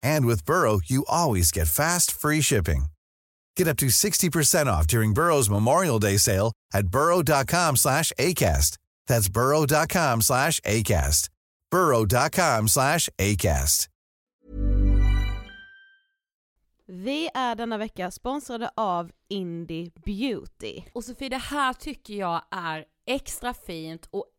And with Burrow, you always get fast, free shipping. Get up to 60% off during Burrow's Memorial Day sale at burrow.com slash ACAST. That's burrow.com slash ACAST. burrow.com slash ACAST. Vi är denna vecka sponsrade av Indie Beauty. Och Sofie, det här tycker jag är extra fint och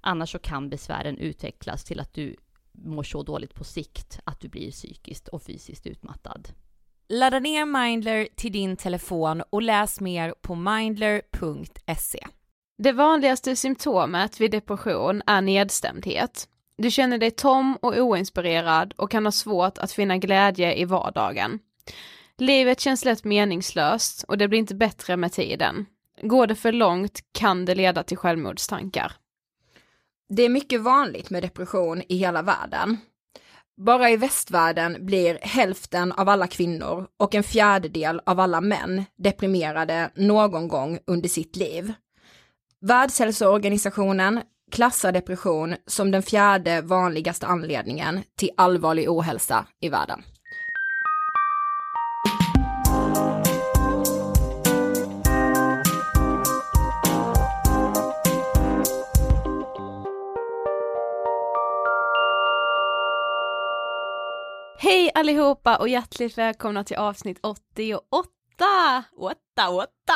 Annars så kan besvären utvecklas till att du mår så dåligt på sikt att du blir psykiskt och fysiskt utmattad. Ladda ner Mindler till din telefon och läs mer på mindler.se. Det vanligaste symptomet vid depression är nedstämdhet. Du känner dig tom och oinspirerad och kan ha svårt att finna glädje i vardagen. Livet känns lätt meningslöst och det blir inte bättre med tiden. Går det för långt kan det leda till självmordstankar. Det är mycket vanligt med depression i hela världen. Bara i västvärlden blir hälften av alla kvinnor och en fjärdedel av alla män deprimerade någon gång under sitt liv. Världshälsoorganisationen klassar depression som den fjärde vanligaste anledningen till allvarlig ohälsa i världen. Hej allihopa och hjärtligt välkomna till avsnitt 88! Åtta, åtta!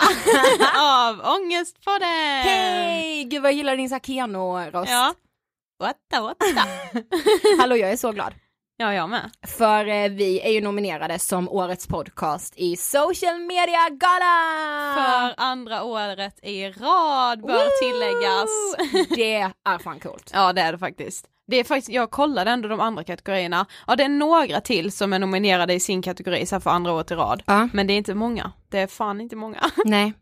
av Ångestpodden! Hej! Gud vad jag gillar din Sakeno-röst. Ja. Åtta, åtta. Hallå, jag är så glad. ja, jag med. För eh, vi är ju Nominerade som årets podcast i Social Media Gala! För andra året i rad bör Woo! tilläggas. Det är fan coolt. Ja det är det faktiskt. Det är faktiskt, jag kollade ändå de andra kategorierna. Ja det är några till som är nominerade i sin kategori så här för andra året i rad. Ja. Men det är inte många. Det är fan inte många. Nej,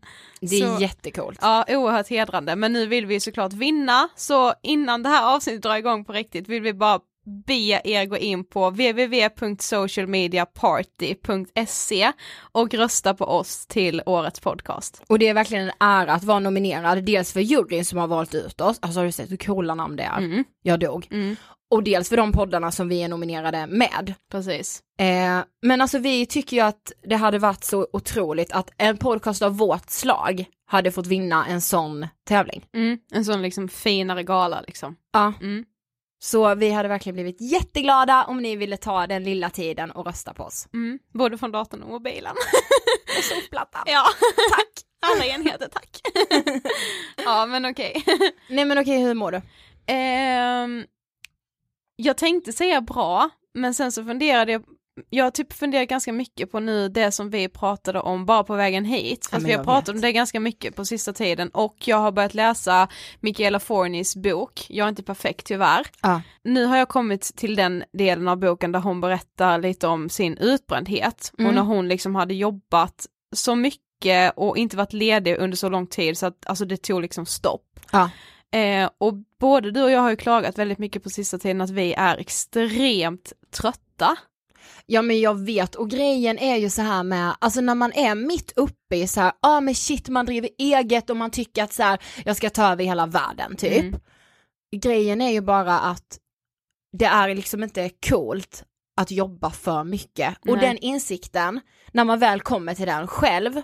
det är Så- jättecoolt. Ja oerhört hedrande men nu vill vi såklart vinna så innan det här avsnittet drar igång på riktigt vill vi bara be er gå in på www.socialmediaparty.se och rösta på oss till årets podcast. Och det är verkligen en ära att vara nominerad, dels för juryn som har valt ut oss, alltså har du sett hur coola namn det är? Mm. Jag dog. Mm. Och dels för de poddarna som vi är nominerade med. Precis. Eh, men alltså vi tycker ju att det hade varit så otroligt att en podcast av vårt slag hade fått vinna en sån tävling. Mm. En sån liksom finare gala liksom. Ja. Mm. Så vi hade verkligen blivit jätteglada om ni ville ta den lilla tiden och rösta på oss. Mm. Både från datorn och mobilen. Solplattan. Ja, tack. Alla enheter, tack. ja, men okej. Nej men okej, hur mår du? Ehm, jag tänkte säga bra, men sen så funderade jag jag har typ funderat ganska mycket på nu det som vi pratade om bara på vägen hit. För Ja, att men vi har jag pratat vet. om det ganska mycket på sista tiden och jag har börjat läsa Michaela Fornis bok, Jag är inte perfekt tyvärr. Ja. Nu har jag kommit till den delen av boken där hon berättar lite om sin utbrändhet Mm. och när hon liksom hade jobbat så mycket och inte varit ledig under så lång tid så att alltså det tog liksom stopp. Ja. Eh, och både du och jag har ju klagat väldigt mycket på sista tiden att vi är extremt trötta. Ja men jag vet och grejen är ju så här med, alltså när man är mitt uppe i så här, ja ah, men shit man driver eget och man tycker att så här, jag ska ta över hela världen typ. Mm. Grejen är ju bara att det är liksom inte coolt att jobba för mycket och Nej. den insikten, när man väl kommer till den själv,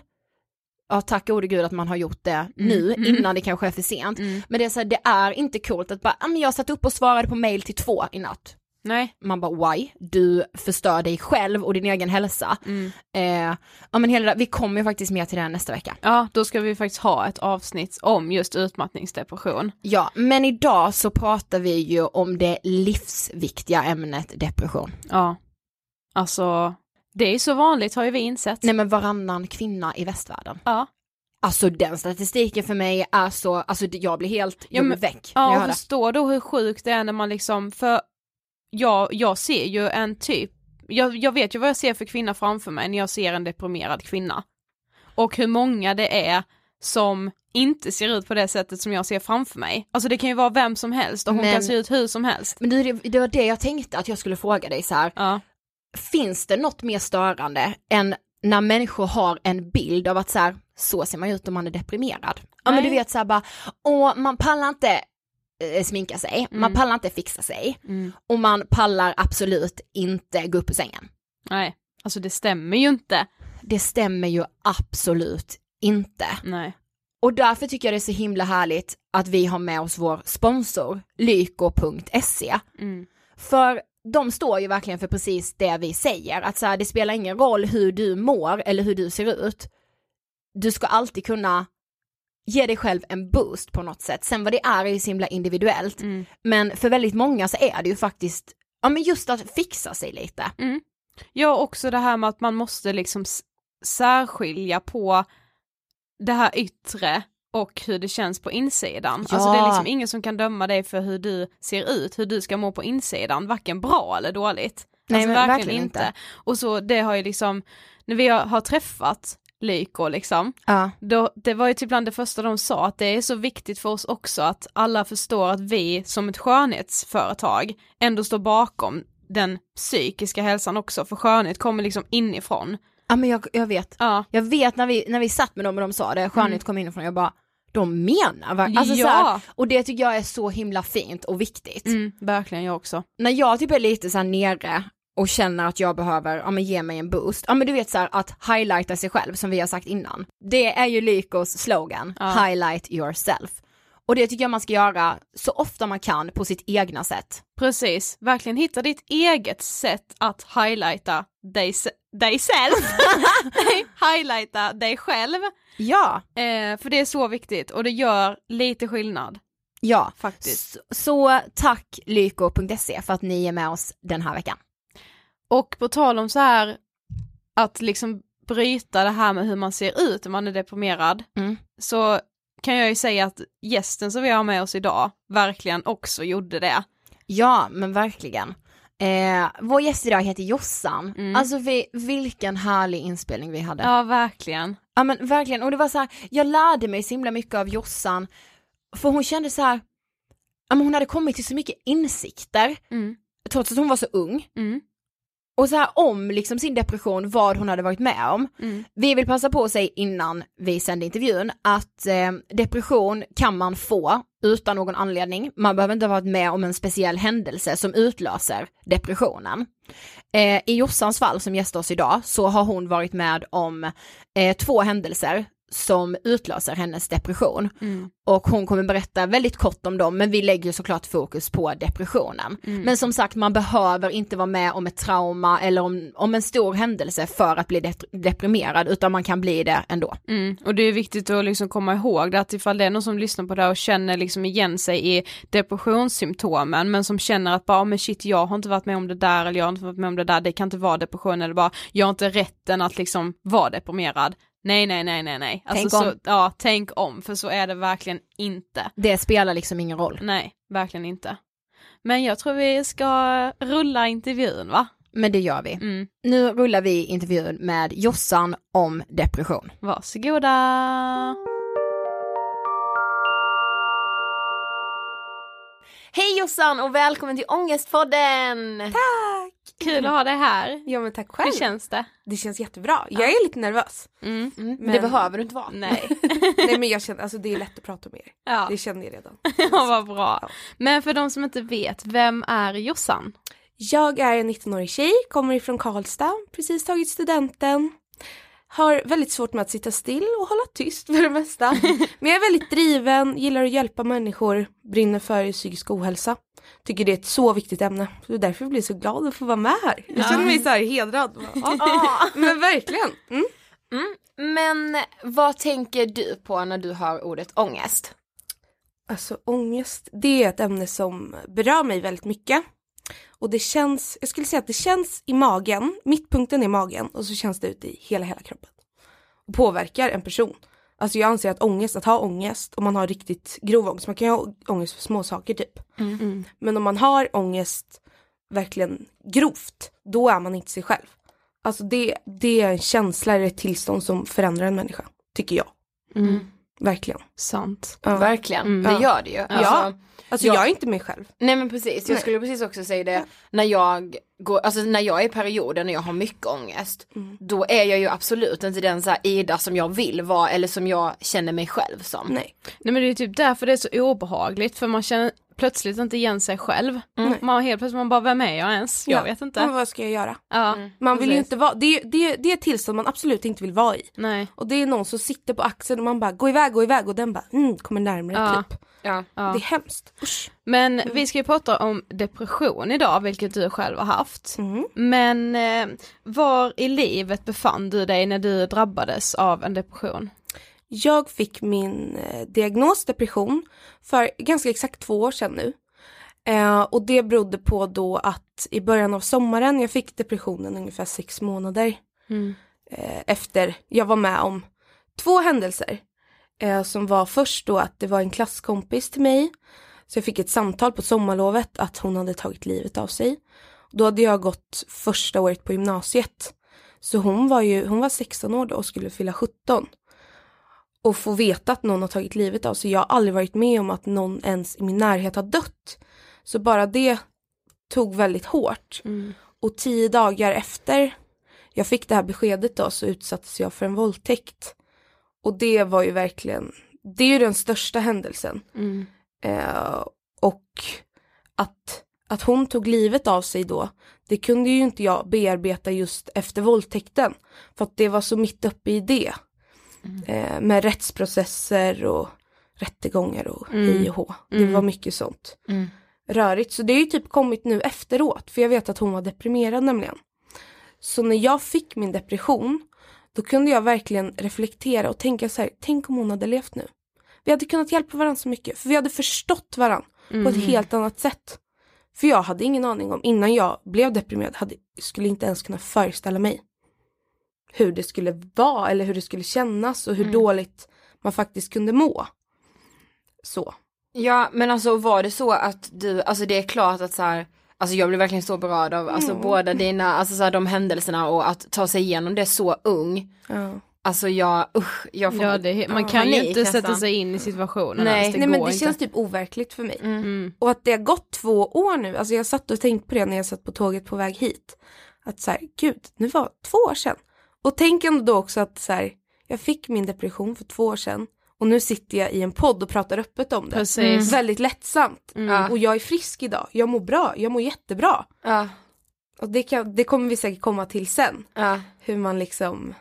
ja tack gode gud att man har gjort det nu Mm. innan det kanske är för sent, men det är så här, det är inte coolt att bara, ah, men jag satt upp och svarade på mail till två i natt Nej. man bara why? Du förstör dig själv och din egen hälsa. Mm. Eh, ja men hela, det där- vi kommer ju faktiskt mer till det här nästa vecka. Ja, då ska vi faktiskt ha ett avsnitt om just utmattningsdepression. Ja, men idag så pratar vi ju om det livsviktiga ämnet depression. Ja. Alltså, det är så vanligt har ju vi insett. Nej men varannan kvinna i västvärlden. Ja. Alltså den statistiken för mig är så, alltså det- jag blir helt, jag men- blir väck när jag Ja, hör och det. förstå då hur sjukt det är när man liksom, för jag, jag ser ju en typ, jag, jag vet ju vad jag ser för kvinna framför mig när jag ser en deprimerad kvinna. Och hur många det är som inte ser ut på det sättet som jag ser framför mig. Alltså det kan ju vara vem som helst och hon Men- kan se ut hur som helst. Men du, det, det var det jag tänkte att jag skulle fråga dig så här. Ja. finns det något mer störande än när människor har en bild av att så här, så ser man ut om man är deprimerad. Ja men Nej. du vet så här bara, åh man pallar inte eh, sminka sig, man pallar inte fixa sig och man pallar absolut inte gå upp ur sängen. Nej, alltså det stämmer ju inte. Det stämmer ju absolut inte. Nej. Och därför tycker jag det är så himla härligt att vi har med oss vår sponsor, lyko.se. För de står ju verkligen för precis det vi säger, att så här, det spelar ingen roll hur du mår eller hur du ser ut. Du ska alltid kunna ge dig själv en boost på något sätt. Sen vad det är är ju så himla individuellt. Men för väldigt många så är det ju faktiskt, ja men just att fixa sig lite. Ja, också det här med att man måste liksom s- särskilja på det här yttre och hur det känns på insidan. Ja. Alltså det är liksom ingen som kan döma dig för hur du ser ut, hur du ska må på insidan, varken bra eller dåligt. Nej, alltså men verkligen inte. Och så det har ju liksom, när vi har, har träffat Lyko liksom, Ja. då, det var ju typ bland det första de sa att det är så viktigt för oss också att alla förstår att vi som ett skönhetsföretag ändå står bakom den psykiska hälsan också för skönhet kommer liksom inifrån. Ja men jag, jag vet. Ja. Mm. Jag vet när vi, när vi satt med dem och de sa det, skönhet kom inifrån, jag bara, de menar verkligen, alltså, så Ja. Mm. här, och det tycker jag är så himla fint och viktigt. verkligen jag också. När jag typ är lite så här nere och känner att jag behöver, ja men ge mig en boost, ja men du vet så här att highlighta sig själv som vi har sagt innan. Det är ju Lykos slogan, highlight yourself. Och det tycker jag man ska göra så ofta man kan på sitt egna sätt. Precis, verkligen hitta ditt eget sätt att highlighta dig, s- dig själv. Nej, highlighta dig själv. Ja, Eh, för det är så viktigt och det gör lite skillnad ja. faktiskt. Så, så tack lyko.se E för att ni är med oss den här veckan. Och på tal om så här att liksom bryta det här med hur man ser ut när man är deprimerad Mm. så kan jag ju säga att gästen som vi har med oss idag verkligen också gjorde det. Ja, men verkligen. Eh, vår gäst idag heter Jossan. Alltså vi, vilken härlig inspelning vi hade. Ja. Ja, verkligen. men verkligen, och det var så här, jag lärde mig så himla mycket av Jossan. För hon kände så här, ja men hon hade kommit till så mycket insikter. Mm. Trots att hon var så ung. Mm. Och så här om liksom sin depression, vad hon hade varit med om. Mm. Vi vill passa på att säga innan vi sänder intervjun att eh, depression kan man få utan någon anledning. Man behöver inte ha varit med om en speciell händelse som utlöser depressionen. Eh, I Jossans fall som gästar oss idag så har hon varit med om eh, två händelser som utlöser hennes depression. Och hon kommer berätta väldigt kort om dem men vi lägger ju såklart fokus på depressionen. Men som sagt man behöver inte vara med om ett trauma eller om, om en stor händelse för att bli dep- deprimerad utan man kan bli det ändå. Mm. Och det är viktigt att liksom komma ihåg det att ifall det är någon som lyssnar på det här och känner liksom igen sig i depressionssymptomen men som känner att bara "Ah, men shit jag har inte varit med om det där eller jag har inte varit med om det där, det kan inte vara depression eller bara jag har inte rätten att liksom vara deprimerad. Nej nej nej nej nej. Alltså Tänk så, om. ja, tänk om för så är det verkligen inte. Det spelar liksom ingen roll. Nej, verkligen inte. Men jag tror vi ska rulla intervjun va? Men det gör vi. Mm. Nu rullar vi intervjun med Jossan om depression. Varsågoda! Hej Jossan och välkommen till Ångestpodden! Tack! Kul att ha dig här. Ja men tack själv. Hur känns det? det känns jättebra. Jag är lite nervös. Mm. Men... Mm, Det behöver du inte vara. Nej. Nej men jag känner, alltså det är lätt att prata med er. Ja. Det känner jag redan. Ja, vad bra. Men för de som inte vet, vem är Jossan? Jag är en 19-årig tjej, kommer ifrån Karlstad, precis tagit studenten. Har väldigt svårt med att sitta still och hålla tyst för det mesta. Men jag är väldigt driven, gillar att hjälpa människor, brinner för psykisk ohälsa. Tycker det är ett så viktigt ämne. Så det är därför jag blir så glad att få vara med här. Jag känner mig så här hedrad. Ja, ja. Men verkligen. Mm. Men vad tänker du på när du hör ordet ångest? Alltså ångest, det är ett ämne som berör mig väldigt mycket. Och det känns, jag skulle säga att det känns i magen, mittpunkten är magen och så känns det ut i hela hela kroppen. Och påverkar en person. Alltså jag anser att ångest, att ha ångest, om man har riktigt grov ångest, man kan ju ha ångest för små saker typ. Men om man har ångest verkligen grovt, då är man inte sig själv. Alltså det, det är en känsla eller ett tillstånd som förändrar en människa, tycker jag. Verkligen. Sant. Ja. Verkligen, det gör det ju. Alltså, Alltså Mm. Ja. jag är inte mig själv. Mm. Nej men precis, jag skulle precis också säga det. När jag går, alltså när jag är i perioder när jag har mycket ångest. Mm. Då är jag ju absolut inte den så här Ida som jag vill vara eller som jag känner mig själv som. Nej. Nej men det är typ därför det är så obehagligt, för man känner, plötsligt inte igen sig själv. Mm. Man helt plötsligt man bara, vem är jag ens? Jag Ja. vet inte. Men vad ska jag göra? Ja, Man vill ju precis. inte vara, det, är- det, är- det är ett tillstånd man absolut inte vill vara i. Nej, Och det är någon som sitter på axeln och man bara gå iväg, gå iväg och den bara mm, kommer närmare Ja. typ. Ja. ja. Det är hemskt. Usch. Men Mm. vi ska ju prata om depression idag, vilket du själv har haft. Mm. Men eh, var i livet befann du dig när du drabbades av en depression? Jag fick min eh, diagnos depression för ganska exakt två år sedan nu. Eh, och det berodde på då att i början av sommaren, jag fick depressionen ungefär sex månader eh, efter jag var med om två händelser. Eh, som var först då att det var en klasskompis till mig. Så jag fick ett samtal på sommarlovet att hon hade tagit livet av sig. Då hade jag gått första året på gymnasiet. Så hon var ju, hon var 16 år då och skulle fylla 17. Och få veta att någon har tagit livet av sig. Jag har aldrig varit med om att någon ens i min närhet har dött. Så bara det tog väldigt hårt. Och tio dagar efter jag fick det här beskedet då så utsattes jag för en våldtäkt. Och det var ju verkligen, det är ju den största händelsen. Mm. Eh, och att, att hon tog livet av sig då, det kunde ju inte jag bearbeta just efter våldtäkten. För att det var så mitt uppe i det. Eh, med rättsprocesser och rättegångar och hej och hå. Det var mycket sånt. Rörigt. Så det har ju typ kommit nu efteråt, för jag vet att hon var deprimerad nämligen. Så när jag fick min depression, då kunde jag verkligen reflektera och tänka så här, tänk om hon hade levt nu. Vi hade kunnat hjälpa varandra så mycket, för vi hade förstått varandra på ett helt annat sätt. För jag hade ingen aning om, innan jag blev deprimerad, hade, skulle inte ens kunna föreställa mig hur det skulle vara eller hur det skulle kännas och hur dåligt man faktiskt kunde må. Så. Ja men alltså var det så att du, alltså det är klart att så här, alltså jag blev verkligen så berörd av alltså båda dina, alltså så här, de händelserna och att ta sig igenom det så ung. Ja. Alltså jag, usch, jag får Ja, det, man Ja, kan ju panik inte sätta nästan. sig in i situationen Nej. ens, det Nej men går det inte. känns typ overkligt för mig. Mm. Och att det har gått två år nu, alltså jag satt och tänkte på det när jag satt på tåget på väg hit. Att så här, gud, nu var det två år sedan. Och tänk ändå då också att så här, jag fick min depression för två år sedan och nu sitter jag i en podd och pratar öppet om det. Precis. Mm. Väldigt lättsamt. Och jag är frisk idag, jag mår bra, jag mår jättebra. Ja, Och det, kan, det kommer vi säkert komma till sen, ja, hur man liksom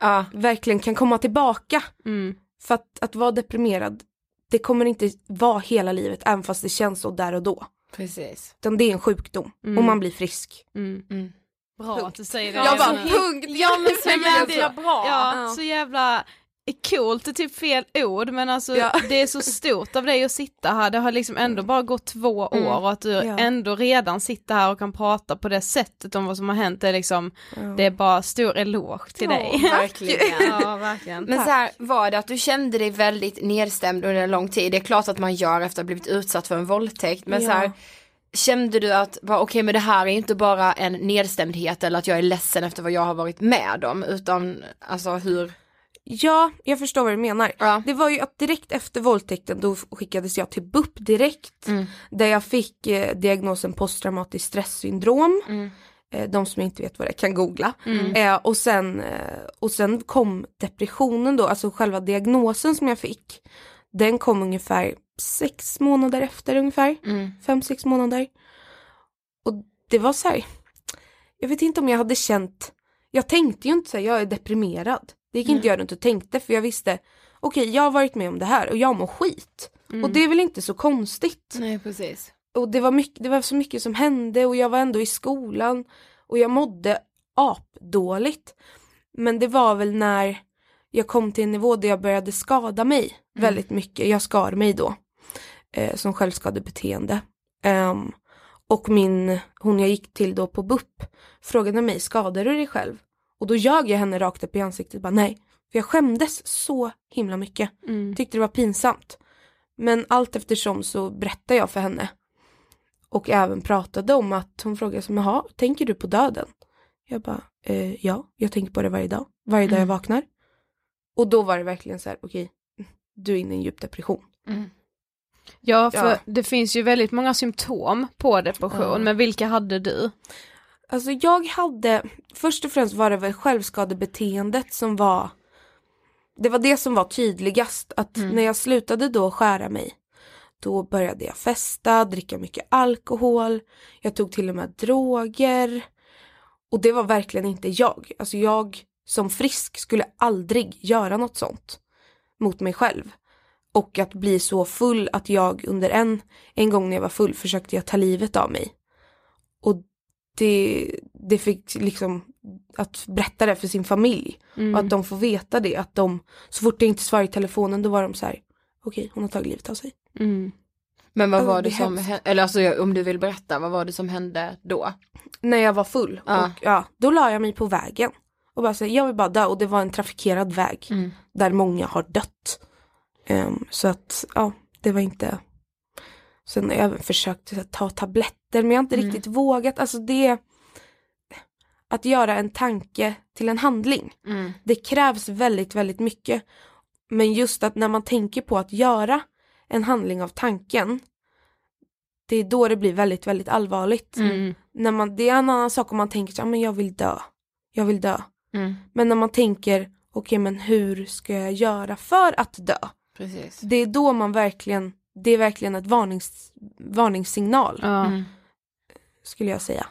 ja. verkligen kan komma tillbaka. Mm. För att, att vara deprimerad, det kommer inte vara hela livet även fast det känns så där och då. Precis. Utan det är en sjukdom och man blir frisk. Mm. Mm. Bra att du säger det. Jag bara, Jenny. punkt! alltså, Ja men så jävla bra. Ja, så jävla coolt, det är typ fel ord men alltså Ja. det är så stort av dig att sitta här, det har liksom ändå bara gått två år och att du Mm. Ja. ändå redan sitter här och kan prata på det sättet om vad som har hänt, det är liksom, det är bara stor eloge till dig. Mm. Verkligen. Ja, verkligen. Men så här, var det att du kände dig väldigt nedstämd under en lång tid? Det är klart att man gör efter att ha blivit utsatt för en våldtäkt. Men så här, kände du att, bara, okej men det här är inte bara en nedstämdhet eller att jag är ledsen efter vad jag har varit med om. Utan alltså hur, Ja, jag förstår vad du menar. Ja. Det var ju att direkt efter våldtäkten då skickades jag till BUP direkt. Där jag fick eh, diagnosen posttraumatiskt stresssyndrom. Eh, de som inte vet vad det är kan googla. Eh, och, sen, eh, och sen kom depressionen då, alltså själva diagnosen som jag fick. Den kom ungefär sex månader efter ungefär. Fem, sex månader. Och det var så här, jag vet inte om jag hade känt, jag tänkte ju inte så här, jag är deprimerad. Det gick inte jag runt och tänkte för jag visste, okej jag har varit med om det här och jag mår skit. Och det är väl inte så konstigt. nej precis. Och det var, mycket, det var så mycket som hände och jag var ändå i skolan och jag mådde apdåligt. Men det var väl när jag kom till en nivå där jag började skada mig väldigt mycket. Jag skar mig då eh, som självskadebeteende. Ehm, och min, hon jag gick till då på BUP frågade mig, skadar du dig själv? Och då ljög jag henne rakt upp i ansiktet bara nej. För jag skämdes så himla mycket. Mm. Tyckte det var pinsamt. Men allt eftersom så berättade jag för henne och även pratade om att hon frågade som jaha, tänker du på döden? Jag bara, eh, ja, jag tänker på det varje dag, varje dag jag vaknar. Och då var det verkligen så här, okej, du är inne i en djup depression. Ja, för Ja. det finns ju väldigt många symptom på depression, men vilka hade du? Alltså jag hade, först och främst var det väl självskadebeteendet som var, det var det som var tydligast att när jag slutade då skära mig, Då började jag festa, dricka mycket alkohol. Jag tog till och med droger. Och det var verkligen inte jag. Alltså jag som frisk skulle aldrig göra något sånt mot mig själv. Och att bli så full att jag under en, en gång när jag var full försökte jag ta livet av mig. Och det, det fick liksom att berätta det för sin familj. Och att de får veta det. Att de, så fort jag inte svarade i telefonen då var de så här, okej hon har tagit livet av sig. Men vad Alltså, var det, det är som hemskt. hände, eller alltså jag- om du vill berätta, vad var det som hände då? när jag var full. Ja. Och, ja, då la jag mig på vägen och bara så här, jag vill bara dö och det var en trafikerad väg Mm. där många har dött. Ehm, så att ja, det var inte. Sen har jag även försökt så här, ta tabletter men jag har inte riktigt vågat. Alltså det att göra en tanke till en handling. Det krävs väldigt, väldigt mycket. Men just att när man tänker på att göra en handling av tanken det är då det blir väldigt, väldigt allvarligt när man, det är en annan sak om man tänker så här, "Ah, men jag vill dö, jag vill dö. Men när man tänker, okej men hur ska jag göra för att dö? Precis. Det är då man verkligen, det är verkligen ett varnings, varningssignal skulle jag säga.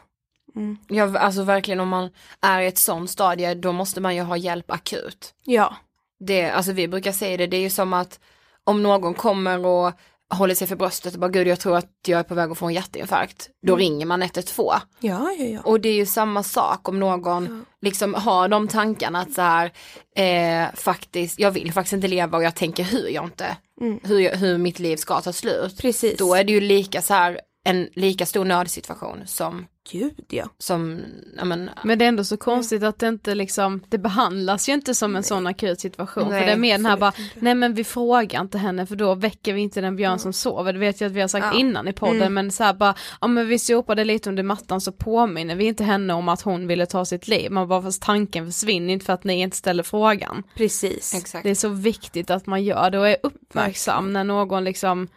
Ja, alltså verkligen om man är i ett sånt stadie, då måste man ju ha hjälp akut. Ja, det, alltså vi brukar säga det, det är ju som att om någon kommer och håller sig för bröstet och bara gud jag tror att jag är på väg att få en hjärtinfarkt, då ringer man 112. ja, ja. ja. Och det är ju samma sak om någon liksom har de tankarna att så här, eh, faktiskt, jag vill faktiskt inte leva och jag tänker hur jag inte, hur, jag, hur mitt liv ska ta slut. Mm. Precis. Då är det ju lika så här, en lika stor nödsituation som, Gud ja. som, ja men, Men det är ändå så konstigt att det inte liksom, det behandlas ju inte som en sån akut situation. Nej, för det är mer den här bara, absolut inte. nej men vi frågar inte henne för då väcker vi inte den björn som sover. Det vet jag att vi har sagt innan i podden men så här bara, ja men vi sopar det lite under mattan så påminner vi inte henne om att hon ville ta sitt liv. Man bara, fast tanken försvinner inte för att ni inte ställer frågan. Precis. exakt. Det är så viktigt att man gör det och är uppmärksam när någon liksom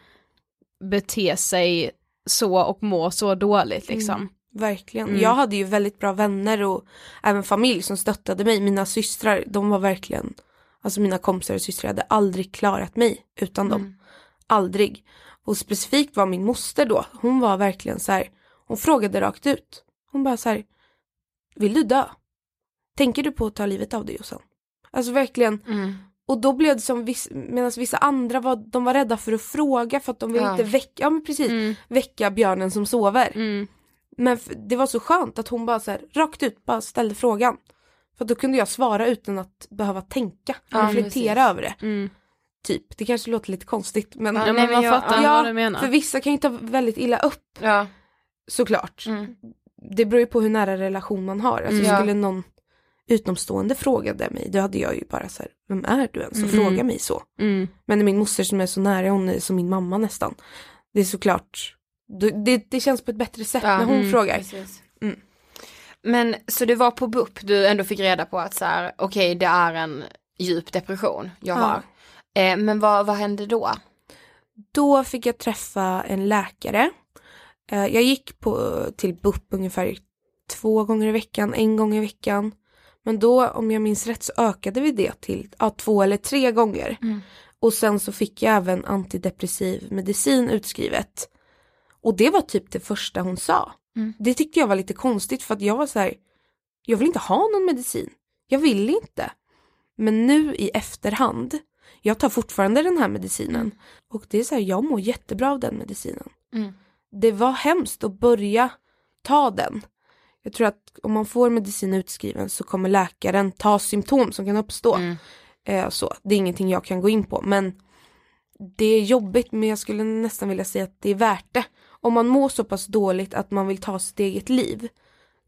beter sig så och mår så dåligt liksom. Mm. Verkligen. Jag hade ju väldigt bra vänner och även familj som stöttade mig. Mina systrar, de var verkligen, alltså mina kompisar och systrar hade aldrig klarat mig utan dem. Aldrig. Och specifikt var min moster då, hon var verkligen så här, hon frågade rakt ut. Hon bara så här, vill du dö? Tänker du på att ta livet av dig Jossan? Alltså verkligen. Och då blev det som, viss, medan vissa andra var, de var rädda för att fråga för att de ville Ja. inte väcka, ja men precis, väcka björnen som sover. Mm. Men f- det var så skönt att hon bara så här, rakt ut bara ställde frågan. För då kunde jag svara utan att behöva tänka, Ja, reflektera precis. över det. Mm. Typ, det kanske låter lite konstigt men, Ja, Ja, nej, men men man jag- fattar ja, vad du menar. för vissa kan ju ta väldigt illa upp Ja. såklart. Mm. Det beror ju på hur nära relation man har. Alltså, Mm. Skulle någon utomstående frågade mig, då hade jag ju bara så här, vem är du ens och fråga mig så. Mm. Men min moster som är så nära, hon är som min mamma nästan. Det är såklart, det, det, det känns på ett bättre sätt Ja, när hon mm, frågar. Precis. Mm. Men så du var på BUP, du ändå fick reda på att så här, okej det är en djup depression jag Ja. har. Eh, men vad, vad hände då? Då fick jag träffa en läkare. Eh, Jag gick på, till BUP ungefär två gånger i veckan, en gång i veckan. Men då, om jag minns rätt, så ökade vi det till ja, två eller tre gånger. Och sen så fick jag även antidepressiv medicin utskrivet. Och det var typ det första hon sa. Det tyckte jag var lite konstigt för att jag var så här, jag vill inte ha någon medicin. Jag vill inte. Men nu i efterhand, jag tar fortfarande den här medicinen. Och det är så här, jag mår jättebra av den medicinen. Mm. Det var hemskt att börja ta den. Jag tror att om man får medicin utskriven så kommer läkaren ta symptom som kan uppstå. Eh, så. Det är ingenting jag kan gå in på men det är jobbigt men jag skulle nästan vilja säga att det är värt det. Om man mår så pass dåligt att man vill ta sitt eget liv.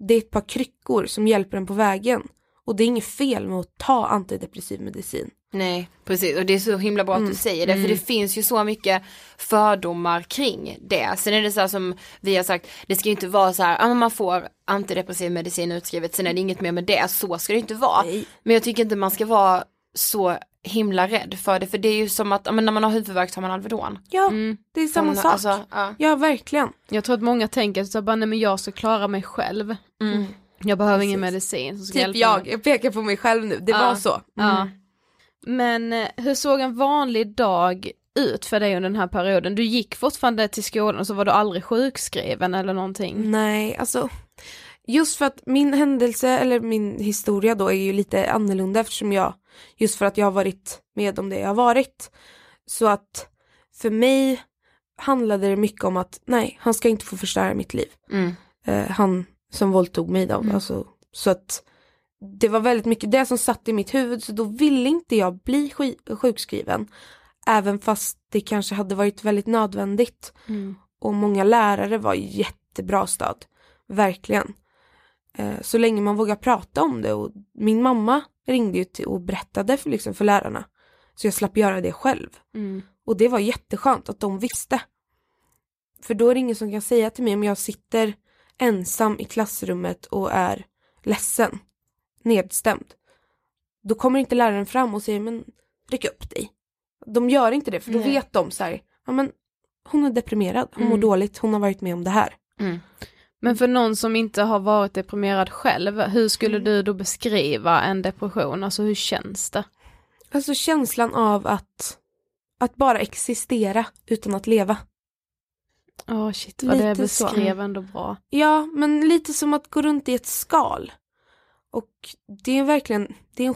Det är ett par kryckor som hjälper en på vägen. Och det är inget fel med att ta antidepressiv medicin. Nej, precis och det är så himla bra att du säger det för det finns ju så mycket fördomar kring det. Sen är det så här som vi har sagt, det ska ju inte vara så här, ah, men man får antidepressiv medicin utskrivet, sen är det inget mer med det, så ska det inte vara. Men jag tycker inte man ska vara så himla rädd för det, för det är ju som att ah, men när man har huvudvärk tar man Alvedon. Ja, det är samma Som- sak. alltså, ja. Ja, verkligen. Jag tror att många tänker så här, bara, nej men jag ska klara mig själv. Mm. Mm. Jag behöver ingen medicin som ska Typ hjälpa jag, mig. jag pekar på mig själv nu, det Mm. Ja. var så. Ja. Men eh, hur såg en vanlig dag ut för dig under den här perioden? Du gick fortfarande till skolan och så var du aldrig sjukskriven eller Mm. någonting? Nej, alltså just för att min händelse eller min historia då är ju lite annorlunda eftersom jag, just för att jag har varit med om det jag har varit. Så att för mig handlade det mycket om att nej, han ska inte få förstöra mitt liv. Mm. Eh, han som våldtog mig då, alltså, så att det var väldigt mycket det som satt i mitt huvud så då ville inte jag bli sk- sjukskriven. Även fast det kanske hade varit väldigt nödvändigt. Mm. Och många lärare var jättebra stöd. Verkligen. Eh, Så länge man vågar prata om det och min mamma ringde ju till och berättade för, liksom, för lärarna. Så jag slapp göra det själv. Och det var jätteskönt att de visste. För då är det ingen som kan säga till mig om jag sitter ensam i klassrummet och är ledsen, nedstämd. Då kommer inte läraren fram och säger men ryck upp dig. De gör inte det för då vet de så här, ja men hon är deprimerad, hon mår dåligt, hon har varit med om det här. Men för någon som inte har varit deprimerad själv, hur Mm. skulle du då beskriva en depression? Alltså hur känns det? Alltså känslan av att, att bara existera utan att leva. Åh shit vad det Lite så. beskrev ändå bra. Ja, men lite som att gå runt i ett skal. Och det är verkligen, det är en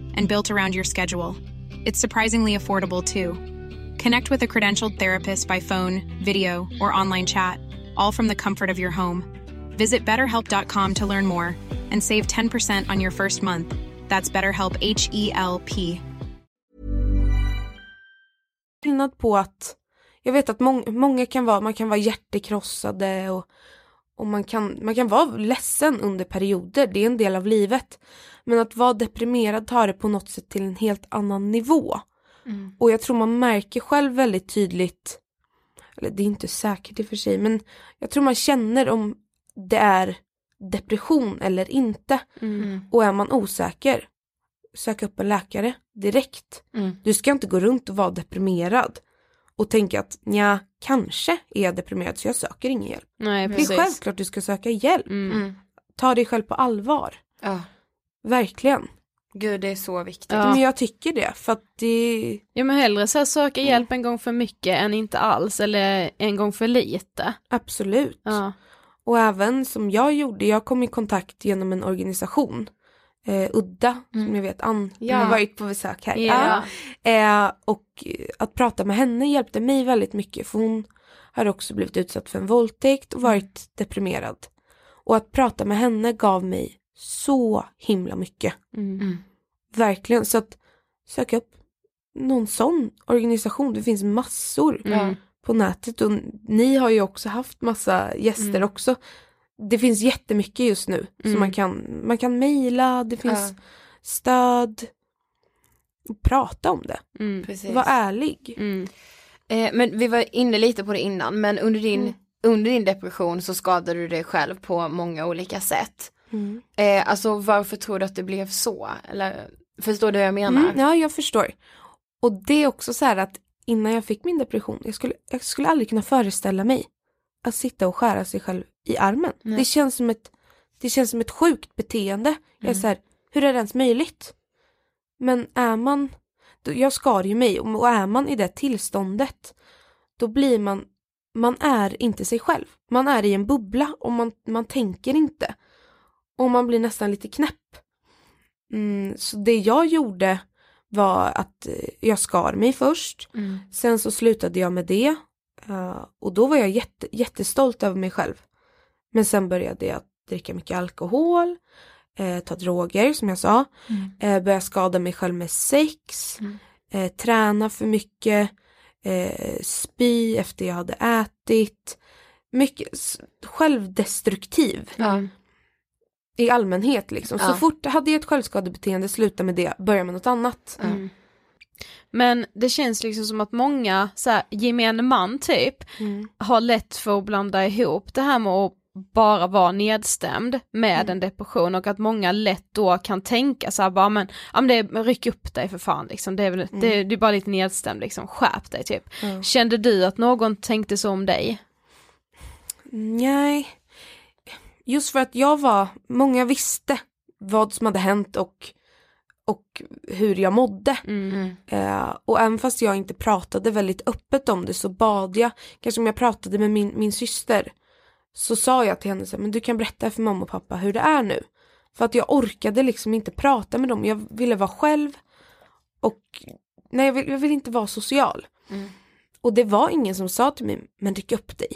and built around your schedule. It's surprisingly affordable too. Connect with a credentialed therapist by phone, video, or online chat, all from the comfort of your home. Visit betterhelp.com to learn more and save 10% on your first month. That's BetterHelp H E L P. skillnad på att jag vet att mång- många kan vara, man kan vara hjärtekrossade och, och man, kan, man kan vara ledsen under perioder, det är en del av livet. Men att vara deprimerad tar det på något sätt till en helt annan nivå. Och jag tror man märker själv väldigt tydligt, eller det är inte säkert i och för sig, men jag tror man känner om det är depression eller inte. Mm. Och är man osäker, sök upp en läkare direkt. Mm. Du ska inte gå runt och vara deprimerad och tänka att nja, kanske är jag deprimerad så jag söker ingen hjälp. Nej Det är precis. självklart du ska söka hjälp. Mm. Ta dig själv på allvar. Ja. Verkligen. Gud det är så viktigt. Ja. Men jag tycker det för att det, Ja men hellre så här, söka hjälp en gång för mycket än inte alls eller en gång för lite. absolut. Ja. Och även som jag gjorde, jag kom i kontakt genom en organisation, eh, Udda, som jag vet Ann Mm. Ja. har varit på besök här. Ja. Ja. Eh, och eh, att prata med henne hjälpte mig väldigt mycket för hon har också blivit utsatt för en våldtäkt Mm. och varit deprimerad. Och att prata med henne gav mig så himla mycket. Verkligen, så att söka upp någon sån organisation, det finns massor Mm. på nätet och ni har ju också haft massa gäster också. Det finns jättemycket just nu så man kan, man kan mejla, det finns stöd. Prata om det, Precis. var ärlig. Mm. Eh, men vi var inne lite på det innan men under din, Mm. under din depression så skadade du dig själv på många olika sätt. Mm. Eh, alltså varför tror du att det blev så? Eller, förstår du vad jag menar? Mm, ja, jag förstår. Och det är också så här att innan jag fick min depression, jag skulle, jag skulle aldrig kunna föreställa mig att sitta och skära sig själv i armen. Det känns som ett, det känns som ett sjukt beteende. Jag är så här, hur är det ens möjligt? Men är man, då, jag skar ju mig och och är man i det tillståndet, då blir man, man är inte sig själv. Man är i en bubbla och man, man tänker inte. Och man blir nästan lite knäpp. Mm, så det jag gjorde var att eh, jag skar mig först. Mm. Sen så slutade jag med det. eh, och då var jag jätte, jättestolt över mig själv. Men sen började jag dricka mycket alkohol, eh, ta droger som jag sa, Mm. eh, börja skada mig själv med sex, eh, träna för mycket, eh, spy efter jag hade ätit. Mycket s- självdestruktiv Ja. i allmänhet liksom. Så Ja. fort hade jag ett självskadebeteende, sluta med det, börja med något annat. Mm. Men det känns liksom som att många, så här, gemene man typ, Mm. har lätt för att blanda ihop det här med att bara vara nedstämd med Mm. en depression och att många lätt då kan tänka så här bara men, ja, men det är, men ryck upp dig för fan liksom, det är, väl, Mm. det, det är bara lite nedstämd liksom, skärp dig typ. Kände du att någon tänkte så om dig? Nej. Just för att jag var, många visste vad som hade hänt och, och hur jag mådde. Mm. Eh, och även fast jag inte pratade väldigt öppet om det så bad jag, kanske om jag pratade med min, min syster, så sa jag till henne så här, men du kan berätta för mamma och pappa hur det är nu. För att jag orkade liksom inte prata med dem, jag ville vara själv och nej jag vill, jag vill inte vara social. Och det var ingen som sa till mig, men ryck upp dig.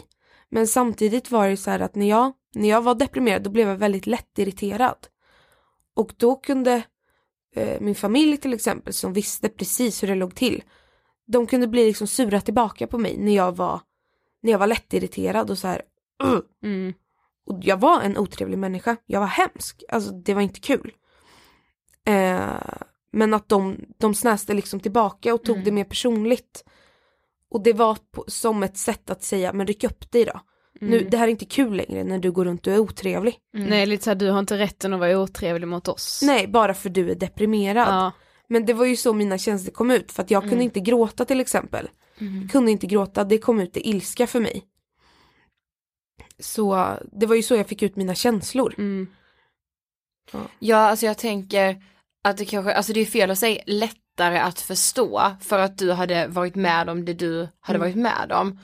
Men samtidigt var det så här att när jag, när jag var deprimerad då blev jag väldigt lätt irriterad. Och då kunde eh, min familj till exempel som visste precis hur det låg till. De kunde bli liksom sura tillbaka på mig när jag var, när jag var lättirriterad och så här. "Ugh." Mm. Och jag var en otrevlig människa. Jag var hemsk. Alltså det var inte kul. Eh, men att de, de snäste liksom tillbaka och tog det mer personligt. Och det var på, som ett sätt att säga, men ryck upp dig då. Nu, det här är inte kul längre när du går runt och är otrevlig. Nej, lite så här, du har inte rätten att vara otrevlig mot oss. Mm. Nej, bara för du är deprimerad. Ja. Men det var ju så mina känslor kom ut för att jag Mm. kunde inte gråta till exempel. Jag kunde inte gråta, det kom ut i ilska för mig. Så det var ju så jag fick ut mina känslor. Mm. Ja, alltså jag tänker att det kanske, alltså det är fel att säga lättare att förstå för att du hade varit med om det du Mm. hade varit med om.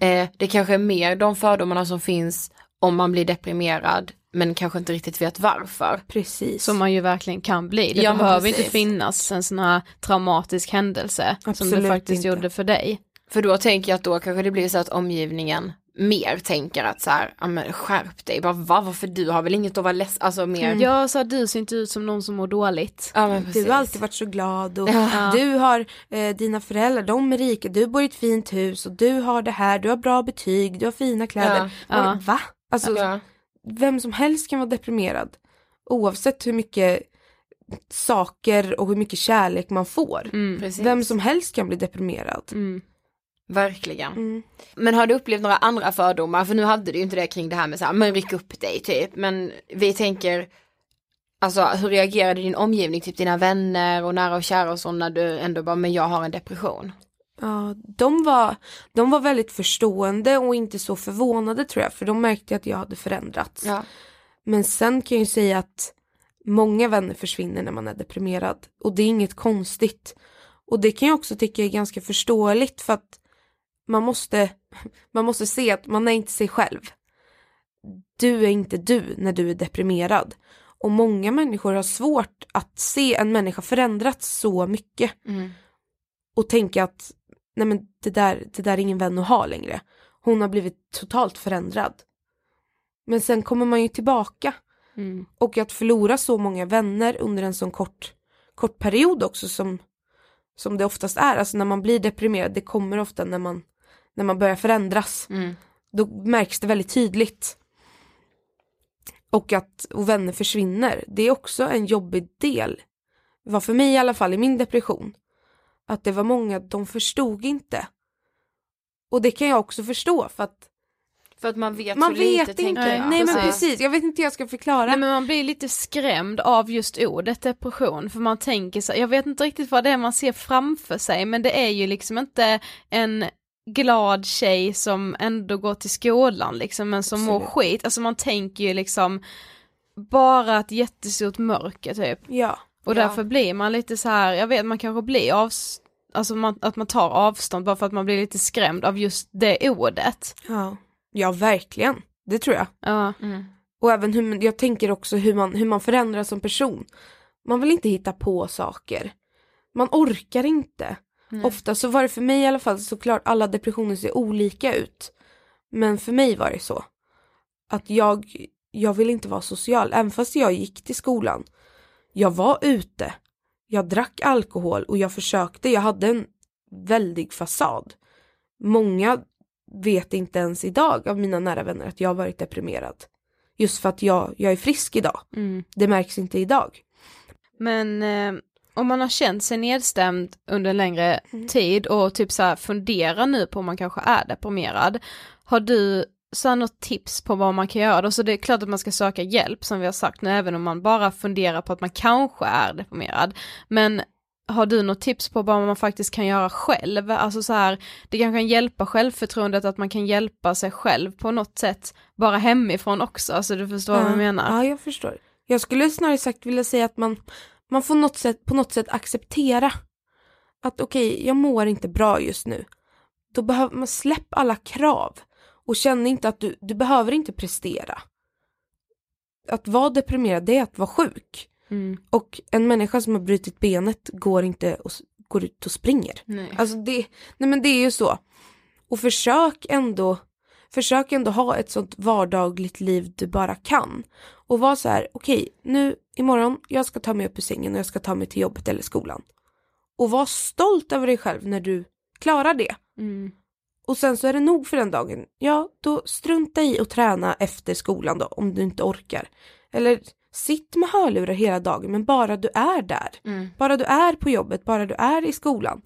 Eh, det kanske är mer de fördomarna som finns om man blir deprimerad men kanske inte riktigt vet varför. Precis. Som man ju verkligen kan bli. Det Ja, men behöver precis. inte finnas en sån här traumatisk händelse som det Absolut faktiskt inte. gjorde för dig. För då tänker jag att då kanske det blir så att omgivningen mer tänker att så här, ja men skärp dig, bara va, varför du har väl inget att vara ledsen, alltså mer. Ja, så här, du ser inte ut som någon som mår dåligt. Ja, men precis. Mm. Du har alltid varit så glad och du har eh, dina föräldrar, de är rika, du bor i ett fint hus och du har det här, du har bra betyg, du har fina kläder. Och, Va? Alltså, Ja. vem som helst kan vara deprimerad oavsett hur mycket saker och hur mycket kärlek man får. Precis. mm. Vem som helst kan bli deprimerad. Verkligen. Mm. Men har du upplevt några andra fördomar? För nu hade du ju inte det kring det här med så här, men ryck upp dig typ. Men vi tänker, alltså hur reagerade din omgivning, typ dina vänner och nära och kära och så när du ändå bara, men jag har en depression. Ja, de var, de var väldigt förstående och inte så förvånade tror jag för de märkte att jag hade förändrats. Ja. Men sen kan jag ju säga att många vänner försvinner när man är deprimerad och det är inget konstigt. Och det kan jag också tycka är ganska förståeligt för att man måste, man måste se att man är inte sig själv. Du är inte du när du är deprimerad. Och många människor har svårt att se en människa förändrats så mycket och tänka att nej men det där, det där är ingen vän att ha längre. Hon har blivit totalt förändrad. Men sen kommer man ju tillbaka. Och att förlora så många vänner under en sån kort, kort period också som, som det oftast är. Alltså när man blir deprimerad, det kommer ofta när man, när man börjar förändras. Då märks det väldigt tydligt. Och att och vänner försvinner, det är också en jobbig del. Var för mig i alla fall i min depression att det var många, de förstod inte. Och det kan jag också förstå för att För att man vet man så vet inte. lite tänker jag. Nej men precis, jag vet inte hur jag ska förklara. Nej, men man blir lite skrämd av just ordet depression, för man tänker så jag vet inte riktigt vad det är man ser framför sig, men det är ju liksom inte en glad tjej som ändå går till skolan liksom, men som mår skit, alltså man tänker ju liksom bara ett jättestort mörker typ. Ja. Och därför blir man lite så här, jag vet man kanske blir av, alltså man, att man tar avstånd bara för att man blir lite skrämd av just det ordet. ja. Ja verkligen, det tror jag. Ja, Och även hur, man- jag tänker också hur man, hur man förändras som person. Man vill inte hitta på saker. man orkar inte. Ofta så var det för mig i alla fall, såklart alla depressioner ser olika ut. Men för mig var det så. Att jag, jag ville inte vara social, även fast jag gick till skolan. Jag var ute, jag drack alkohol och jag försökte, jag hade en väldig fasad. Många vet inte ens idag av mina nära vänner att jag har varit deprimerad. Just för att jag, jag är frisk idag. Mm. Det märks inte idag. Men eh, om man har känt sig nedstämd under en längre Mm. tid och typ så här funderar nu på om man kanske är deprimerad, har du så här något tips på vad man kan göra då? Så det är klart att man ska söka hjälp som vi har sagt nu, även om man bara funderar på att man kanske är deprimerad. Men har du något tips på vad man faktiskt kan göra själv? Alltså så här, det kanske kan hjälpa självförtroendet att man kan hjälpa sig själv på något sätt, bara hemifrån också, alltså du förstår vad jag Ja. menar? Ja, jag förstår. Jag skulle snarare sagt vilja säga att man, man får något sätt, på något sätt acceptera att okej, jag mår inte bra just nu. Då behöver man släpp alla krav och känn inte att du, du behöver inte prestera. Att vara deprimerad, det är att vara sjuk. Mm. Och en människa som har brutit benet går inte och s- går ut och springer. Nej. Alltså det, nej men det är ju så. Och försök ändå, försök ändå ha ett sånt vardagligt liv du bara kan. Och var så här, okej, nu imorgon, jag ska ta mig upp ur sängen och jag ska ta mig till jobbet eller skolan. Och var stolt över dig själv när du klarar det. Mm. Och sen så är det nog för den dagen. Ja, då strunta i att träna efter skolan då, om du inte orkar. Eller sitt med hörlurar hela dagen, men bara du är där. Bara du är på jobbet, bara du är i skolan.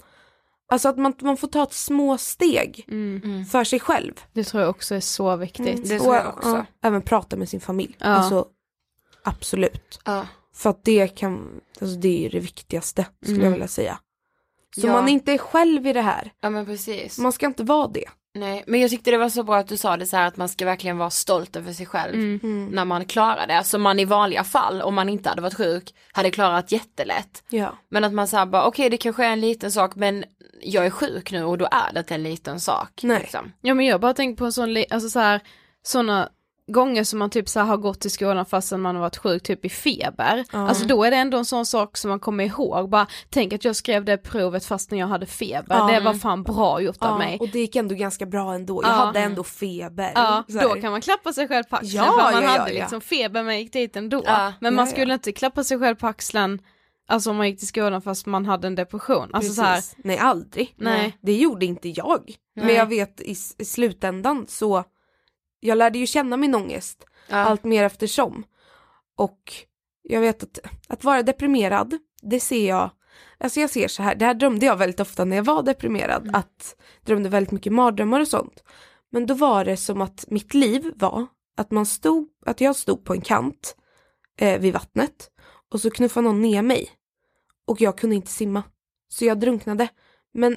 Alltså att man, man får ta ett små steg Mm. för sig själv. Det tror jag också är så viktigt. Mm, Det tror jag också. även prata med sin familj. Alltså, absolut. Ja. För att det kan, alltså det är ju det viktigaste skulle Mm. jag vilja säga. Så Ja. man inte är själv i det här. Ja men precis. Man ska inte vara det. Nej, men jag tyckte det var så bra att du sa det så här att man ska verkligen vara stolt över sig själv när man klarar det. Som man i vanliga fall, om man inte hade varit sjuk, hade klarat jättelätt. Ja. Men att man säger bara, okej det kanske är en liten sak men jag är sjuk nu och då är det inte en liten sak. Nej. Liksom. Ja men jag bara tänker på en sån, li- alltså så här, såna gånger som man typ så här har gått till skolan fastän man har varit sjuk typ i feber. Alltså då är det ändå en sån sak som man kommer ihåg, bara tänk att jag skrev det provet fastän jag hade feber, Ja. det var fan bra gjort av mig. och det gick ändå ganska bra ändå. Jag Ja. hade ändå feber. Ja, Så här. då kan man klappa sig själv på axeln Ja, för att ja, man ja, hade ja. liksom feber men gick dit ändå. Ja, men man ja, ja. skulle inte klappa sig själv på axeln, alltså om man gick till skolan fast man hade en depression. Alltså så här, Precis. Nej, aldrig. Nej. Det gjorde inte jag. Men jag vet i, s- i slutändan så jag lärde ju känna min ångest allt mer eftersom. Och jag vet att, att vara deprimerad, det ser jag, alltså jag ser så här, det här drömde jag väldigt ofta när jag var deprimerad, att drömde väldigt mycket mardrömmar och sånt. Men då var det som att mitt liv var att man stod, att jag stod på en kant eh, vid vattnet och så knuffade någon ner mig och jag kunde inte simma. Så jag drunknade. Men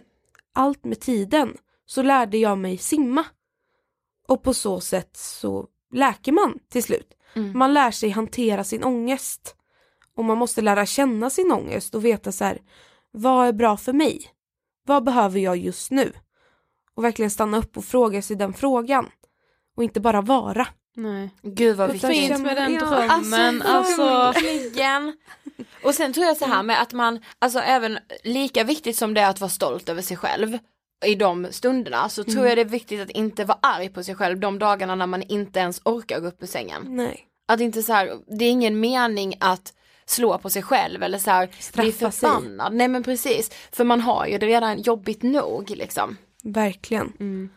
allt med tiden så lärde jag mig simma. Och på så sätt så läker man till slut. Mm. Man lär sig hantera sin ångest. Och man måste lära känna sin ångest och veta så här, vad är bra för mig? Vad behöver jag just nu? Och verkligen stanna upp och fråga sig den frågan. Och inte bara vara. nej. Gud vad Utan viktigt. Fint känna- med den Ja, drömmen, alltså. Verkligen. Och sen tror jag så här med att man, alltså även lika viktigt som det är att vara stolt över sig själv i de stunderna så tror jag det är viktigt att inte vara arg på sig själv de dagarna när man inte ens orkar gå upp ur sängen. Nej. Att inte så här, Alltså, det är ingen mening att slå på sig själv eller så här bli Straffa sig. förbannad. Nej men precis, för man har ju det redan jobbigt nog liksom. Verkligen.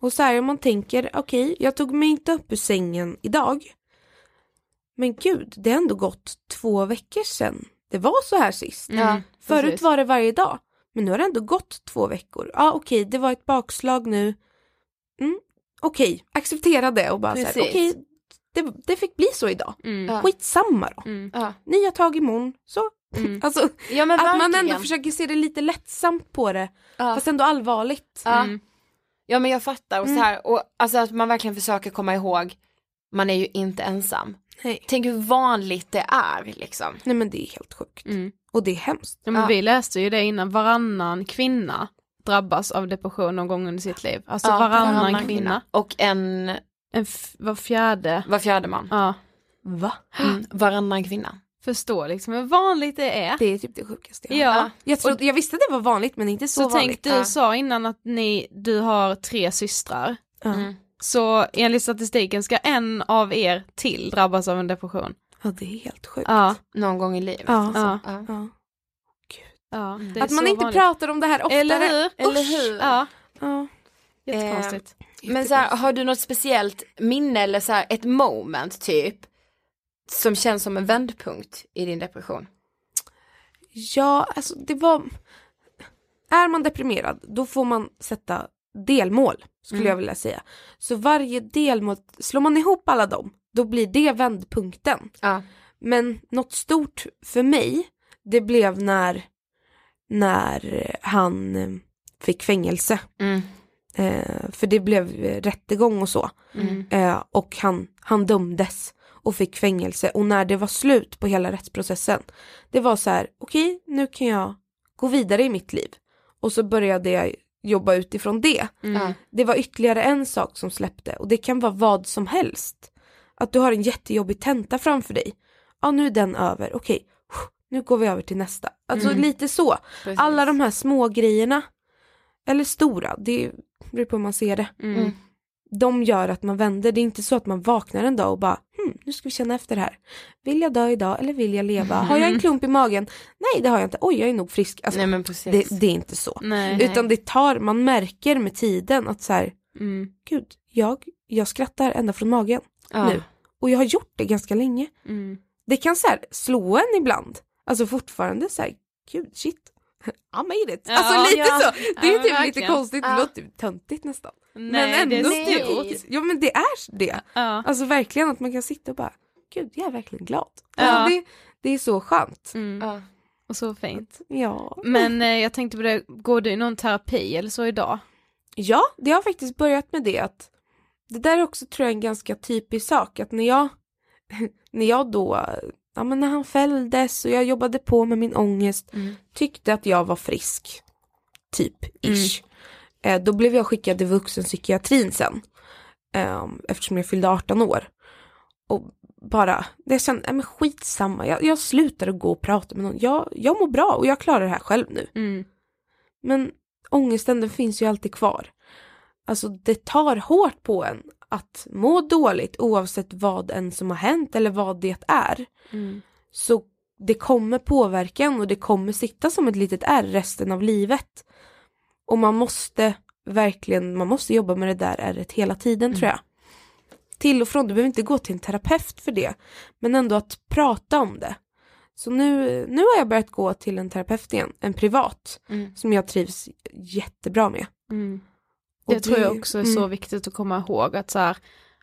Och så här om man tänker, okej, jag tog mig inte upp ur sängen idag. Men gud, det har ändå gått två veckor sedan det var så här sist. Mm. Förut precis. var det varje dag, men nu har det ändå gått två veckor. Ja, okej, det var ett bakslag nu. Mm, okej, acceptera det och bara så här, Precis. okej, det, det fick bli så idag. Mm. Skitsamma då. Ja, Nya tag imorgon, så. Alltså, ja men att man verkligen. ändå försöker se det lite lättsamt på det, Ja. fast Mm. ändå allvarligt. Ja. ja men jag fattar och så här, och alltså att man verkligen försöker komma ihåg, man är ju inte ensam. Nej. Tänk hur vanligt det är liksom. Nej men det är helt sjukt. Mm. Och det är hemskt. Ja, men Vi läste ju det innan, varannan kvinna drabbas av depression någon gång under sitt liv. Alltså Ja, varannan, kvinna. Och en, En f- var fjärde. var fjärde man. Ja. Va? Mm, varannan kvinna. förstå liksom hur vanligt det är. Det är typ det sjukaste jag Ja. har hört. jag, trodde, jag visste att det var vanligt men inte så, Så, vanligt. tänk, du sa innan att ni, du har tre systrar. Ja. Mm. Så enligt statistiken ska en av er till drabbas av en depression. ja det är helt sjukt. Ja, Någon gång i livet. Ja. Alltså. Ja. Ja. Ja. ja det är Att man så inte vanligt. pratar om det här oftare. Eller hur? Ehm, Eller Usch, hur? Ja, Ja. jättekonstigt. Men så här, har du något speciellt minne eller så här, ett moment typ som känns som en vändpunkt i din depression? Ja, alltså det var... Är man deprimerad, då får man sätta delmål, skulle Mm. jag vilja säga. Så varje delmål, slår man ihop alla dem, då blir det vändpunkten. Ja. Men något stort för mig, det blev när, när han eh, fick fängelse. Mm. Eh, för det blev eh, rättegång och så. Eh, och han, han dömdes och fick fängelse. Och när det var slut på hela rättsprocessen, det var så här, okej nu kan jag gå vidare i mitt liv. Och så började jag jobba utifrån det. Ja. Det var ytterligare en sak som släppte och det kan vara vad som helst. Att du har en jättejobbig tenta framför dig. Ja nu är den över, okej nu går vi över till nästa. Alltså lite så. Precis. Alla de här små grejerna eller stora, det beror på hur man ser det. Mm. De gör att man vänder, det är inte så att man vaknar en dag och bara hmm, nu ska vi känna efter det här. Vill jag dö idag eller vill jag leva? Har jag en klump i magen? Nej det har jag inte, oj jag är nog frisk. Alltså, Nej men precis. det, det är inte så. Nej. Utan det tar, man märker med tiden att så här, Mm. gud, jag, jag skrattar ända från magen ja. nu. Och jag har gjort det ganska länge. Mm. Det kan så här slå en ibland. Alltså fortfarande så här, gud, shit. I made it. Ja, alltså lite ja. så. Ja, Det är typ men lite verkligen. konstigt, det Ja. låter typ töntigt nästan. Nej, men ändå det är stort. typ- Ja men det är det. Ja. Alltså verkligen att man kan sitta och bara, gud jag är verkligen glad. Ja. Alltså, det, det är så skönt. Mm. Ja. Och så fint. Ja. Men eh, jag tänkte på det, går du i någon terapi eller så idag? Ja, det har faktiskt börjat med det att det där är också tror jag en ganska typisk sak att när jag när jag då, ja men när han fälldes och jag jobbade på med min ångest tyckte att jag var frisk, typ ish. Eh, då blev jag skickad till vuxenpsykiatrin sen eh, eftersom jag fyllde 18 år. Och bara, det kände, nej men skitsamma, jag, jag slutar att gå och prata med någon. Jag, jag mår bra och jag klarar det här själv nu. Men ångesten den finns ju alltid kvar. Alltså det tar hårt på en att må dåligt oavsett vad en som har hänt eller vad det är. Så det kommer påverka en och det kommer sitta som ett litet ärr resten av livet. Och man måste verkligen, man måste jobba med det där ärret hela tiden Mm. tror jag. Till och från, du behöver inte gå till en terapeut för det. Men ändå att prata om det. Så nu, nu har jag börjat gå till en terapeut igen, en privat, Mm. som jag trivs jättebra med. Och Det tror jag det- mm. också är så viktigt att komma ihåg att så här,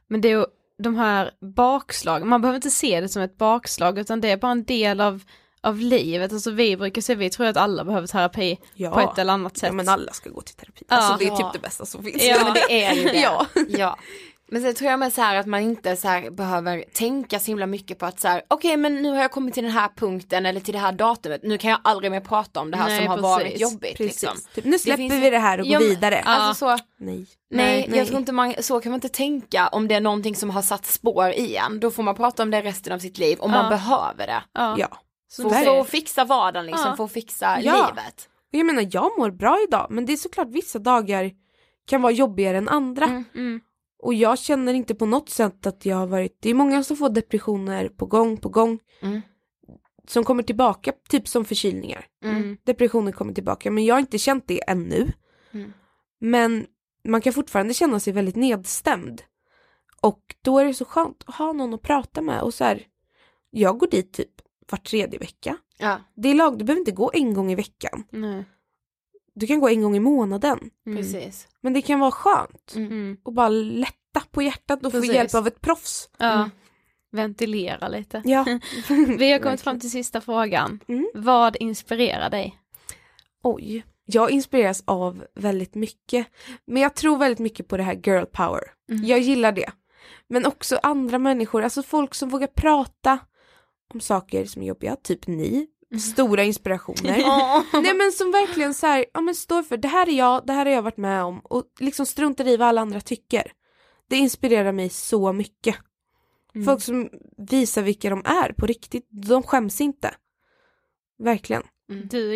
men det är ju de här bakslagen, man behöver inte se det som ett bakslag utan det är bara en del av, av livet, alltså vi brukar säga, vi tror att alla behöver terapi Ja. på ett eller annat sätt. Ja, men alla ska gå till terapi. Ja. Alltså, det är Ja. typ det bästa som finns. Ja, men det är ju det. Ja. Ja. Men sen tror jag med så här att man inte så här behöver tänka så himla mycket på att så här, okej men nu har jag kommit till den här punkten eller till det här datumet, nu kan jag aldrig mer prata om det här Nej, som har precis. varit jobbigt. Liksom. Typ, nu släpper finns- vi det här och går Ja, men- vidare. Alltså så, Nej. nej, Nej. jag tror inte man, så kan man inte tänka om det är någonting som har satt spår i en, då får man prata om det resten av sitt liv om man behöver det. ja. Ja. Få, där är få det. fixa vardagen liksom, Ja. få fixa Ja. livet. Och jag menar jag mår bra idag men det är såklart vissa dagar kan vara jobbigare än andra. Och jag känner inte på något sätt att jag har varit, det är många som får depressioner på gång på gång. Som kommer tillbaka, typ som förkylningar. Depressioner kommer tillbaka men jag har inte känt det ännu. Men man kan fortfarande känna sig väldigt nedstämd. Och då är det så skönt att ha någon att prata med och så här, jag går dit typ var tredje vecka. Ja. Det är lag, du behöver inte gå en gång i veckan. Nej. Du kan gå en gång i månaden. Precis. Men det kan vara skönt Mm. och bara lätta på hjärtat och Precis. få hjälp av ett proffs. Ja. Ventilera lite. Ja. Vi har kommit fram till sista frågan. Mm. Vad inspirerar dig? Oj. Jag inspireras av väldigt mycket. Men jag tror väldigt mycket på det här girl power. Jag gillar det. Men också andra människor, alltså folk som vågar prata om saker som är jobbiga, typ ni. Stora inspirationer. Nej men som verkligen så här, ja men står för det här är jag, det här har jag varit med om och liksom struntar i vad alla andra tycker. Det inspirerar mig så mycket. Mm. Folk som visar vilka de är på riktigt, de skäms inte. Verkligen. Du är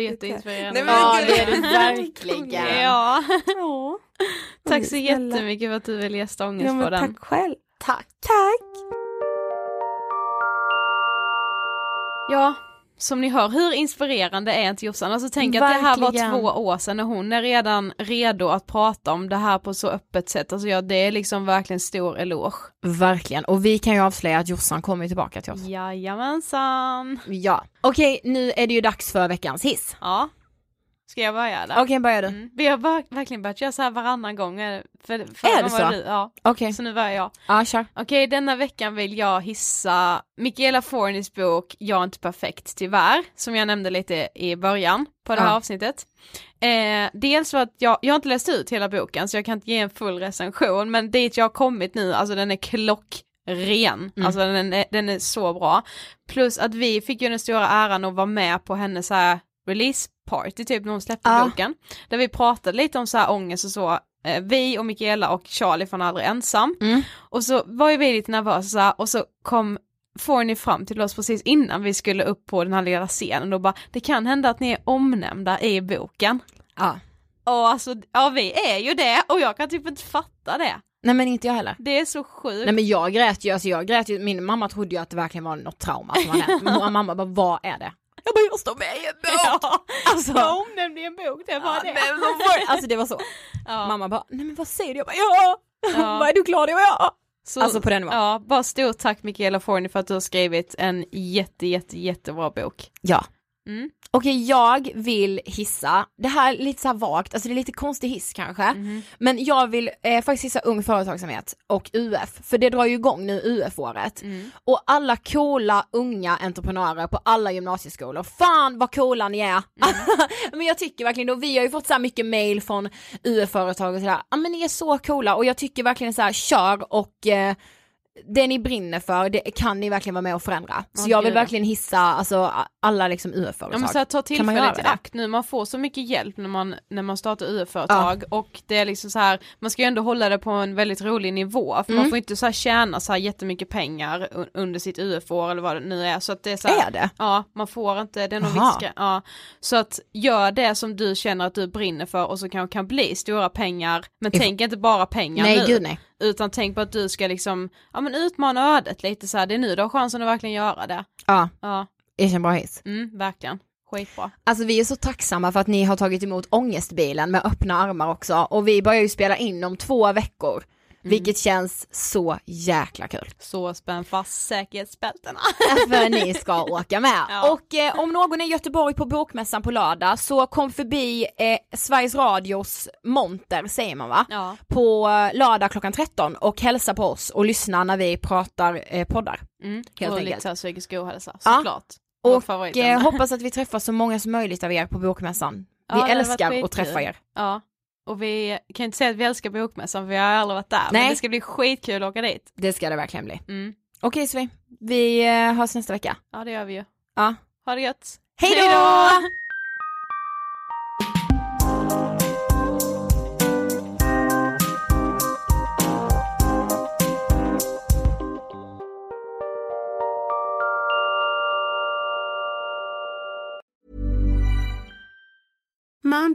Nej, jätteinspirerande. men Ja, det Mm, är du verkligen. Ja. Ja. Tack så jättemycket för att du ville gästa Ja, men Ångestpodden. tack själv. Tack. Tack. Ja, som ni hör, hur inspirerande är inte Jossan? Alltså tänk att det här Verkligen. var två år sedan och hon är redan redo att prata om det här på så öppet sätt. Alltså ja, det är liksom verkligen stor eloge. Verkligen, och vi kan ju avslöja att Jossan kommer tillbaka till oss. Jajamensan. Ja. Okej, nu är det ju dags för veckans hiss. Ja. Ska jag börja eller? Okej, börja du. Mm. Vi har ver- verkligen börjat göra så här varannan gång. eh, För, förra Är det gången så? var Du, ja. Okej, Så nu börjar jag. ja kör. Okej, denna veckan vill jag hissa Michaela Fornis bok Jag är inte perfekt tyvärr, som jag nämnde lite i början på det här Ja. avsnittet. Eh, dels för att jag, jag har inte läst ut hela boken så jag kan inte ge en full recension, men dit jag har kommit nu, alltså den är klockren, alltså den är, den är så bra. Plus att vi fick ju den stora äran att vara med på hennes så här release party typ när hon släppte Ja. boken, där vi pratade lite om så här ångest och så, eh, vi och Michaela och Charlie från Aldrig Ensam, och så var ju vi lite nervösa och så kom Forni fram till oss precis innan vi skulle upp på den här lilla scenen och bara det kan hända att ni är omnämnda i boken. Ja. Och alltså, ja vi är ju det och jag kan typ inte fatta det. Nej men inte jag heller. Det är så sjukt. Nej men jag grät ju, alltså jag grät ju, min mamma trodde ju att det verkligen var något trauma som hade hänt. Min mamma bara, vad är det? Jag bara, jag står med i en bok! ja, Alltså, jag omnämnde i en bok, det var det. men vad var det? alltså det var så. Ja. Mamma bara, nej men vad säger du? Jag bara, ja! Ja. Vad är du glad över? Ja! Så, Alltså på den nivån. Ja, bara stort tack Michaela Forni för att du har skrivit en jätte, jätte, jättebra bok. Ja. Mm. Okej, jag vill hissa, det här är lite så här vagt, alltså det är lite konstig hiss kanske, Mhm. men jag vill eh, faktiskt hissa Ung Företagsamhet och UF, för det drar ju igång nu UF-året. Mm. Och alla coola unga entreprenörer på alla gymnasieskolor, fan vad coola ni är! Mm. men jag tycker verkligen det, och vi har ju fått så här mycket mail från UF-företag och sådär, ja men ni är så coola och jag tycker verkligen så här, kör och eh, det ni brinner för, det kan ni verkligen vara med och förändra. Så Ja, jag vill gud, ja. verkligen hissa alltså, alla liksom Ja, men UF-företag. så här, ta Kan man göra tillfället i det? akt nu, man får så mycket hjälp när man, när man startar UF-företag och det är liksom så här, man ska ju ändå hålla det på en väldigt rolig nivå för Mm. man får inte så här tjäna så här jättemycket pengar un- under sitt UF-år eller vad det nu är så att det är så här, Är det? Ja, man får inte, det är någon Aha. viss gre- ja. Så att gör det som du känner att du brinner för och så kan, kan bli stora pengar, men tänk inte bara pengar Nej, nu. gud, nej. Utan tänk på att du ska liksom, ja men utmana ödet lite så här, det är nu du har chansen att verkligen göra det. Ja, Ja, erkänn bra hiss. mm, verkligen, skitbra. Alltså vi är så tacksamma för att ni har tagit emot ångestbilen med öppna armar också och vi börjar ju spela in om två veckor. Mm. Vilket känns så jäkla kul. Så spänn fast säkerhetsbältena. För ni ska åka med. Ja. Och eh, om någon är i Göteborg på bokmässan på lördag så kom förbi eh, Sveriges Radios monter säger man va? Ja. På eh, lördag klockan 13 och hälsa på oss och lyssna när vi pratar eh, poddar. Mm. Helt och lite enkelt. så här psykisk ohälsa, Ja. såklart. Vår Och favoritämne. eh, hoppas att vi träffar så många som möjligt av er på bokmässan. Ja, Vi det hade varit älskar att skitkul. träffa er. Ja. Och vi kan inte säga att vi älskar bokmässan för vi har aldrig varit där. Men Nej. det ska bli skitkul att åka dit. Det ska det verkligen bli. Mm. Okej Sofie, vi eh, hörs nästa vecka. Ja det gör vi ju. Ja. Ha det gött! Hej Hej då! då! Mom